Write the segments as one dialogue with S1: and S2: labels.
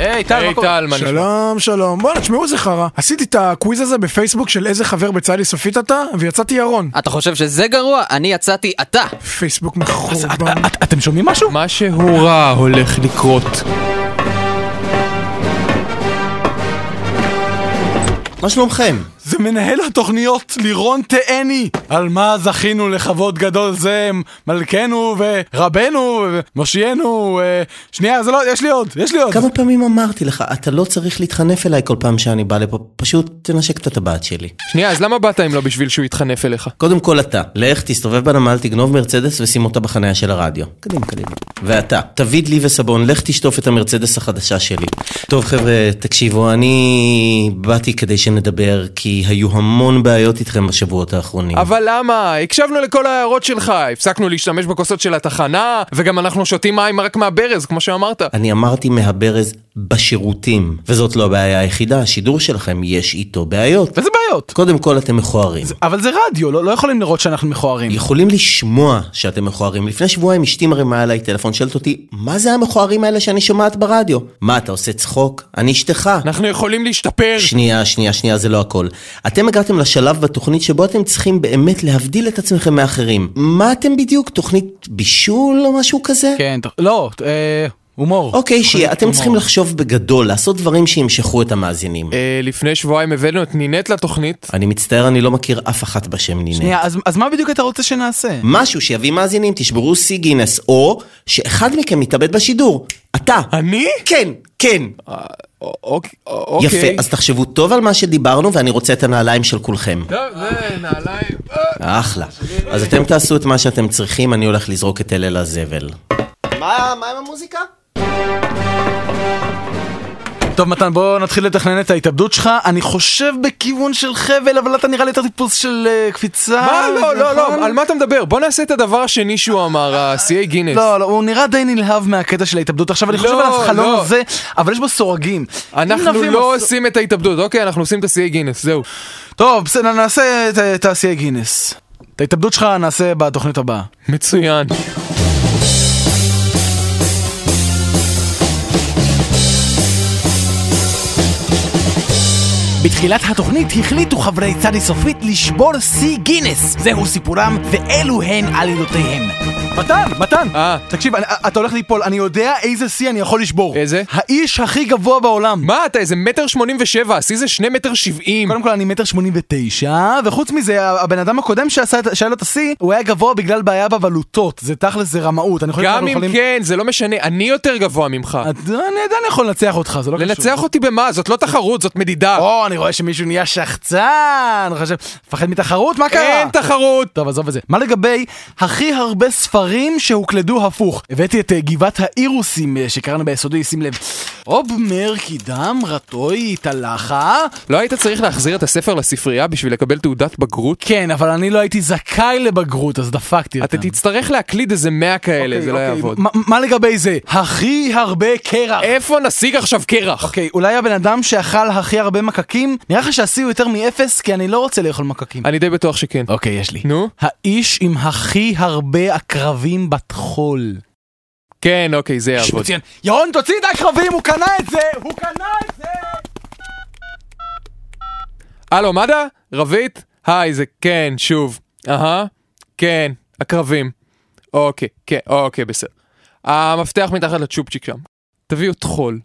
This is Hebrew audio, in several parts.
S1: אה,
S2: היי, טל, מה
S3: היי
S2: קורה?
S3: טל, מה נשמע?
S4: שלום, שלום. בואנה, תשמעו איזה חרא. עשיתי את הקוויז הזה בפייסבוק של איזה חבר בצלאלי סופית אתה, ויצאתי ירון.
S1: אתה חושב שזה גרוע? אני יצאתי אתה.
S4: פייסבוק מחורבן.
S2: את- אתם שומעים משהו?
S3: משהו רע הולך לקרות.
S5: מה שלומכם?
S4: זה מנהל התוכניות לירון תאני. על מה זכינו לכבוד גדול זה מלכנו ורבנו ומושיענו. אה, שנייה, זה לא, יש לי עוד, יש לי עוד.
S5: כמה פעמים אמרתי לך, אתה לא צריך להתחנף אליי כל פעם שאני בא לפה, פשוט תנשק את הטבעת שלי.
S3: שנייה, אז למה באת אם לא בשביל שהוא יתחנף אליך?
S5: קודם כל אתה, לך תסתובב בנמל, תגנוב מרצדס ושים אותה בחניה של הרדיו. קדימה, קדימה. ואתה, תביד לי וסבון, לך תשטוף את המרצדס החדשה שלי. טוב חבר'ה, תקשיבו, אני באתי כדי שנדבר, כי היו המון בעיות איתכם בשבועות האחרונים.
S3: אבל למה? הקשבנו לכל ההערות שלך, הפסקנו להשתמש בכוסות של התחנה, וגם אנחנו שותים מים רק מהברז, כמו שאמרת.
S5: אני אמרתי מהברז בשירותים, וזאת לא הבעיה היחידה, השידור שלכם יש איתו בעיות.
S2: איזה בעיות?
S5: קודם כל אתם מכוערים.
S2: אבל זה רדיו, לא לא יכולים לראות שאנחנו מכוערים.
S5: יכולים לשמוע שאתם מכוערים. לפני שבועיים אשתי מרימה עליי טלפון, שואלת אותי, מה זה המכוערים האלה שאני שומעת ברדיו? מה, אתה עושה צחוק? אני אשתך.
S3: אנחנו יכולים להשתפר.
S5: שנייה, שנייה, שנייה, זה לא הכל. אתם הגעתם לשלב בתוכנית שבו אתם צריכים באמת להבדיל את עצמכם מאחרים. מה אתם בדיוק? תוכנית בישול או משהו כזה?
S2: כן, ת- לא, אה, הומור.
S5: אוקיי, שיהיה, אתם
S2: הומור.
S5: צריכים לחשוב בגדול, לעשות דברים שימשכו את המאזינים.
S3: אה, לפני שבועיים הבאנו את נינט לתוכנית.
S5: אני מצטער, אני לא מכיר אף אחת בשם נינה.
S2: שנייה, אז- אז מה בדיוק אתה רוצה שנעשה?
S5: משהו שיביא מאזינים, תשברו שיא גינס, או שאחד מכם יתאבד בשידור. אתה.
S3: אני?
S5: כן, כן.
S3: אה, א- אוק- א- אוקיי.
S5: יפה, אז תחשבו טוב על מה שדיברנו, ואני רוצה את הנעליים של כולכם.
S3: טוב, זה נעליים. אה,
S5: אחלה. אז אתם תעשו את מה שאתם צריכים, אני הולך לזרוק את אלה לזבל. מה, מה עם המוזיקה?
S2: טוב מתן בוא נתחיל לתכנן את ההתאבדות שלך אני חושב בכיוון של חבל אבל אתה נראה לי יותר טיפוס של אה, קפיצה.
S3: מה? לא, לא,
S2: נכון?
S3: לא, על מה אתה מדבר? בוא נעשה את הדבר השני שהוא אמר, ה-CA גינס.
S2: לא, לא, הוא נראה די נלהב מהקטע של ההתאבדות. עכשיו, אני
S3: לא,
S2: חושב על החלום
S3: לא.
S2: הזה, אבל יש בו סורגים. אם
S3: אנחנו
S2: נביא
S3: לא
S2: מס-
S3: עושים את ההתאבדות, אוקיי? אנחנו עושים את ה-CA גינס, זהו.
S2: טוב, בסדר, נעשה את- אה, את תעשייה גינס. את ההתאבדות שלך נעשה בתוכנית הבאה.
S3: מצוין.
S2: בתחילת התוכנית החליטו חברי צדי סופית לשבור שיא גינס. זהו סיפורם, ואלו הן עלילותיהם. מתן, מתן!
S3: אה.
S2: תקשיב, אני- אתה הולך ליפול, אני יודע איזה שיא אני יכול לשבור.
S3: איזה?
S2: האיש הכי גבוה בעולם.
S3: מה אתה איזה מטר שמונים ושבע, השיא זה שני מטר שבעים.
S2: קודם כל אני מטר שמונים ותשע, וחוץ מזה הבן אדם הקודם שעשה את- שהיה לו את השיא, הוא היה גבוה בגלל בעיה בבלוטות, זה תכל'ס זה רמאות, אני חושב
S3: גם
S2: שאנחנו
S3: אם
S2: יכולים...
S3: כן, זה לא משנה, אני יותר גבוה ממך.
S2: את- אני עדיין יכול לנצח אותך, זה לא קשור.
S3: לנצח אותי במה? זאת לא תחרות, זאת מדידה.
S2: או, אני רואה שמישהו נהיה שחצן, אני חושב, מפחד מתחרות, מה קרה?
S3: אין תחרות!
S2: טוב, עזוב את זה. מה לגבי הכי הרבה ספרים שהוקלדו הפוך? הבאתי את אה, גבעת האירוסים אה, שקראנו ביסודי, שים לב. אוב מרקי דם רטוי תלחה.
S3: לא היית צריך להחזיר את הספר לספרייה בשביל לקבל תעודת בגרות?
S2: כן, אבל אני לא הייתי זכאי לבגרות, אז דפקתי אותם.
S3: אתה תצטרך להקליד איזה 100 כאלה, זה לא
S2: כן. אוקיי,
S3: יעבוד.
S2: מה- מה לגבי זה? הכי הרבה קרח.
S3: איפה נשיג עכשיו קרח?
S2: אוקיי, אולי הבן אדם שאכל הכי הרבה מקקים, נראה לך שהשיא הוא יותר מאפס, כי אני לא רוצה לאכול מקקים.
S3: אני די בטוח שכן.
S2: אוקיי, יש לי.
S3: אה, נו?
S2: האיש עם הכי הרבה עקרבים בת חול.
S3: כן, אוקיי, זה יעבוד.
S2: מצוין. ירון, תוציא את העקרבים, הוא קנה את זה! הוא קנה את זה!
S3: הלו, מד"א? רבית? היי, זה כן, שוב. אהה, כן, הקרבים. אוקיי, כן, אוקיי, בסדר. המפתח מתחת לצ'ופצ'יק שם. תביאו טחול.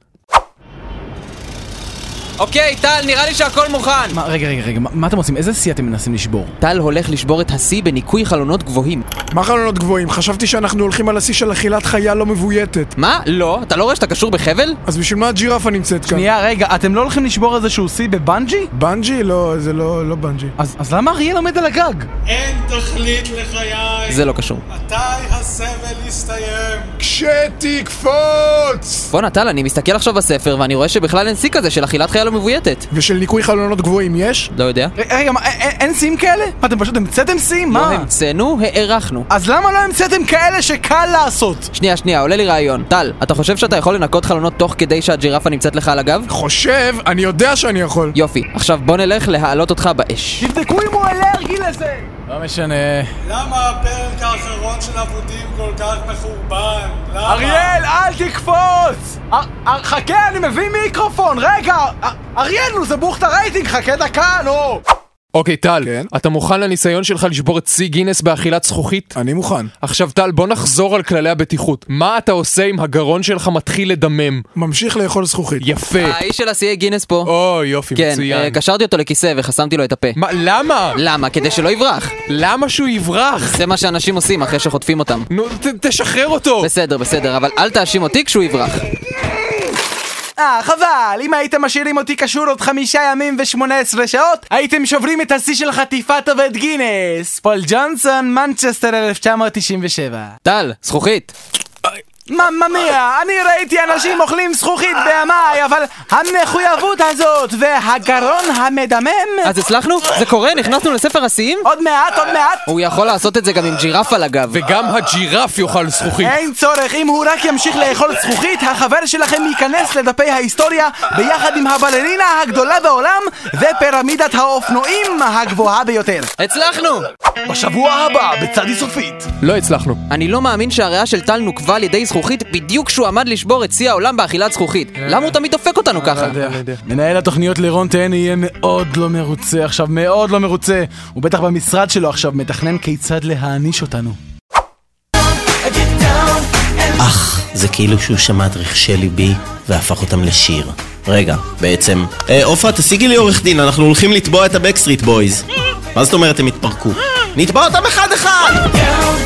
S1: אוקיי, טל, נראה לי שהכל מוכן.
S2: מה, רגע, רגע, רגע, מה- מה אתם עושים? איזה שיא אתם מנסים לשבור?
S1: טל הולך לשבור את השיא בניקוי חלונות גבוהים.
S4: מה חלונות גבוהים? חשבתי שאנחנו הולכים על השיא של אכילת חיה לא מבויתת.
S1: מה? לא? אתה לא רואה שאתה קשור בחבל?
S4: אז בשביל מה הג'ירפה נמצאת כאן?
S2: שנייה, רגע, אתם לא הולכים לשבור איזשהו שיא בבנג'י?
S4: בנג'י? לא, זה לא, לא בנג'י.
S2: אז אז למה אריאל עומד על הגג?
S6: אין תכלית לחיי,
S1: זה לא קשור.
S6: מתי הסבל יסתיים?
S4: כשתקפוץ!
S1: בואנה, טל, אני מסתכל עכשיו בספר, ואני רואה שבכלל אין שיא כזה של אכילת חיה לא מבויתת.
S4: ושל ניקוי חלונות גבוהים יש?
S1: לא יודע.
S2: ר- רגע, מה, א- א- אין שיאים כאלה? מה, אתם פשוט המצאתם שיאים?
S1: לא
S2: מה?
S1: המצאנו, הארכנו.
S2: אז למה לא המצאתם כאלה שקל לעשות?
S1: שנייה, שנייה, עולה לי רעיון. טל, אתה חושב שאתה יכול לנקות חלונות תוך כדי שהג'ירפה נמצאת לך על הגב?
S4: חושב, אני יודע שאני יכול.
S1: יופי, עכשיו בוא נלך להעלות אותך באש.
S2: תבדקו אם הוא אלרגי לזה! לא משנה.
S6: למה הפרק האחרון של אבודים כל כך מחורבן? למה?
S2: אריאל, אל תקפוץ! א- א- חכה, אני מביא מיקרופון, רגע! א- אריאל, נו, זה בוכת הרייטינג, חכה דקה, נו!
S3: אוקיי, טל,
S4: כן?
S3: אתה מוכן לניסיון שלך לשבור את שיא גינס באכילת זכוכית?
S4: אני מוכן.
S3: עכשיו, טל, בוא נחזור על כללי הבטיחות. מה אתה עושה אם הגרון שלך מתחיל לדמם?
S4: ממשיך לאכול זכוכית.
S3: יפה.
S1: האיש של השיאי גינס פה.
S3: או, יופי,
S1: כן, אה,
S3: מצוין.
S1: קשרתי אותו לכיסא וחסמתי לו את הפה.
S3: מה, למה?
S1: למה? כדי שלא יברח.
S3: למה שהוא יברח?
S1: זה מה שאנשים עושים אחרי שחוטפים אותם.
S3: נו, ת- תשחרר אותו!
S1: בסדר, בסדר, אבל אל תאשים אותי כשהוא יברח.
S2: אה, חבל, אם הייתם משאירים אותי קשור עוד חמישה ימים ושמונה עשרה שעות, הייתם שוברים את השיא של חטיפת עובד גינס. פול ג'ונסון, מנצ'סטר 1997.
S1: טל, זכוכית.
S2: ממא מיה, אני ראיתי אנשים אוכלים זכוכית בימיי, אבל המחויבות הזאת והגרון המדמם...
S1: אז הצלחנו? זה קורה? נכנסנו לספר השיאים?
S2: עוד מעט, עוד מעט!
S1: הוא יכול לעשות את זה גם עם ג'ירף על הגב.
S3: וגם הג'ירף יאכל זכוכית.
S2: אין צורך, אם הוא רק ימשיך לאכול זכוכית, החבר שלכם ייכנס לדפי ההיסטוריה ביחד עם הבלרינה הגדולה בעולם ופירמידת האופנועים הגבוהה ביותר.
S1: הצלחנו!
S2: בשבוע הבא, בצד איסופית.
S3: לא הצלחנו.
S1: אני לא מאמין שהריאה של טל נוקבה על ידי זכוכית בדיוק כשהוא עמד לשבור את שיא העולם באכילת זכוכית. למה הוא תמיד דופק אותנו ככה?
S2: מנהל התוכניות לירון תהן יהיה מאוד לא מרוצה עכשיו, מאוד לא מרוצה. הוא בטח במשרד שלו עכשיו מתכנן כיצד להעניש אותנו.
S5: זה כאילו שהוא שמע את רכשי ליבי והפך אותם לשיר. רגע, בעצם. אה, עופרה, תשיגי לי עורך דין, אנחנו הולכים לתבוע את הבקסטריט בויז. מה זאת אומרת הם התפרקו? נתבע אותם אחד-אחד!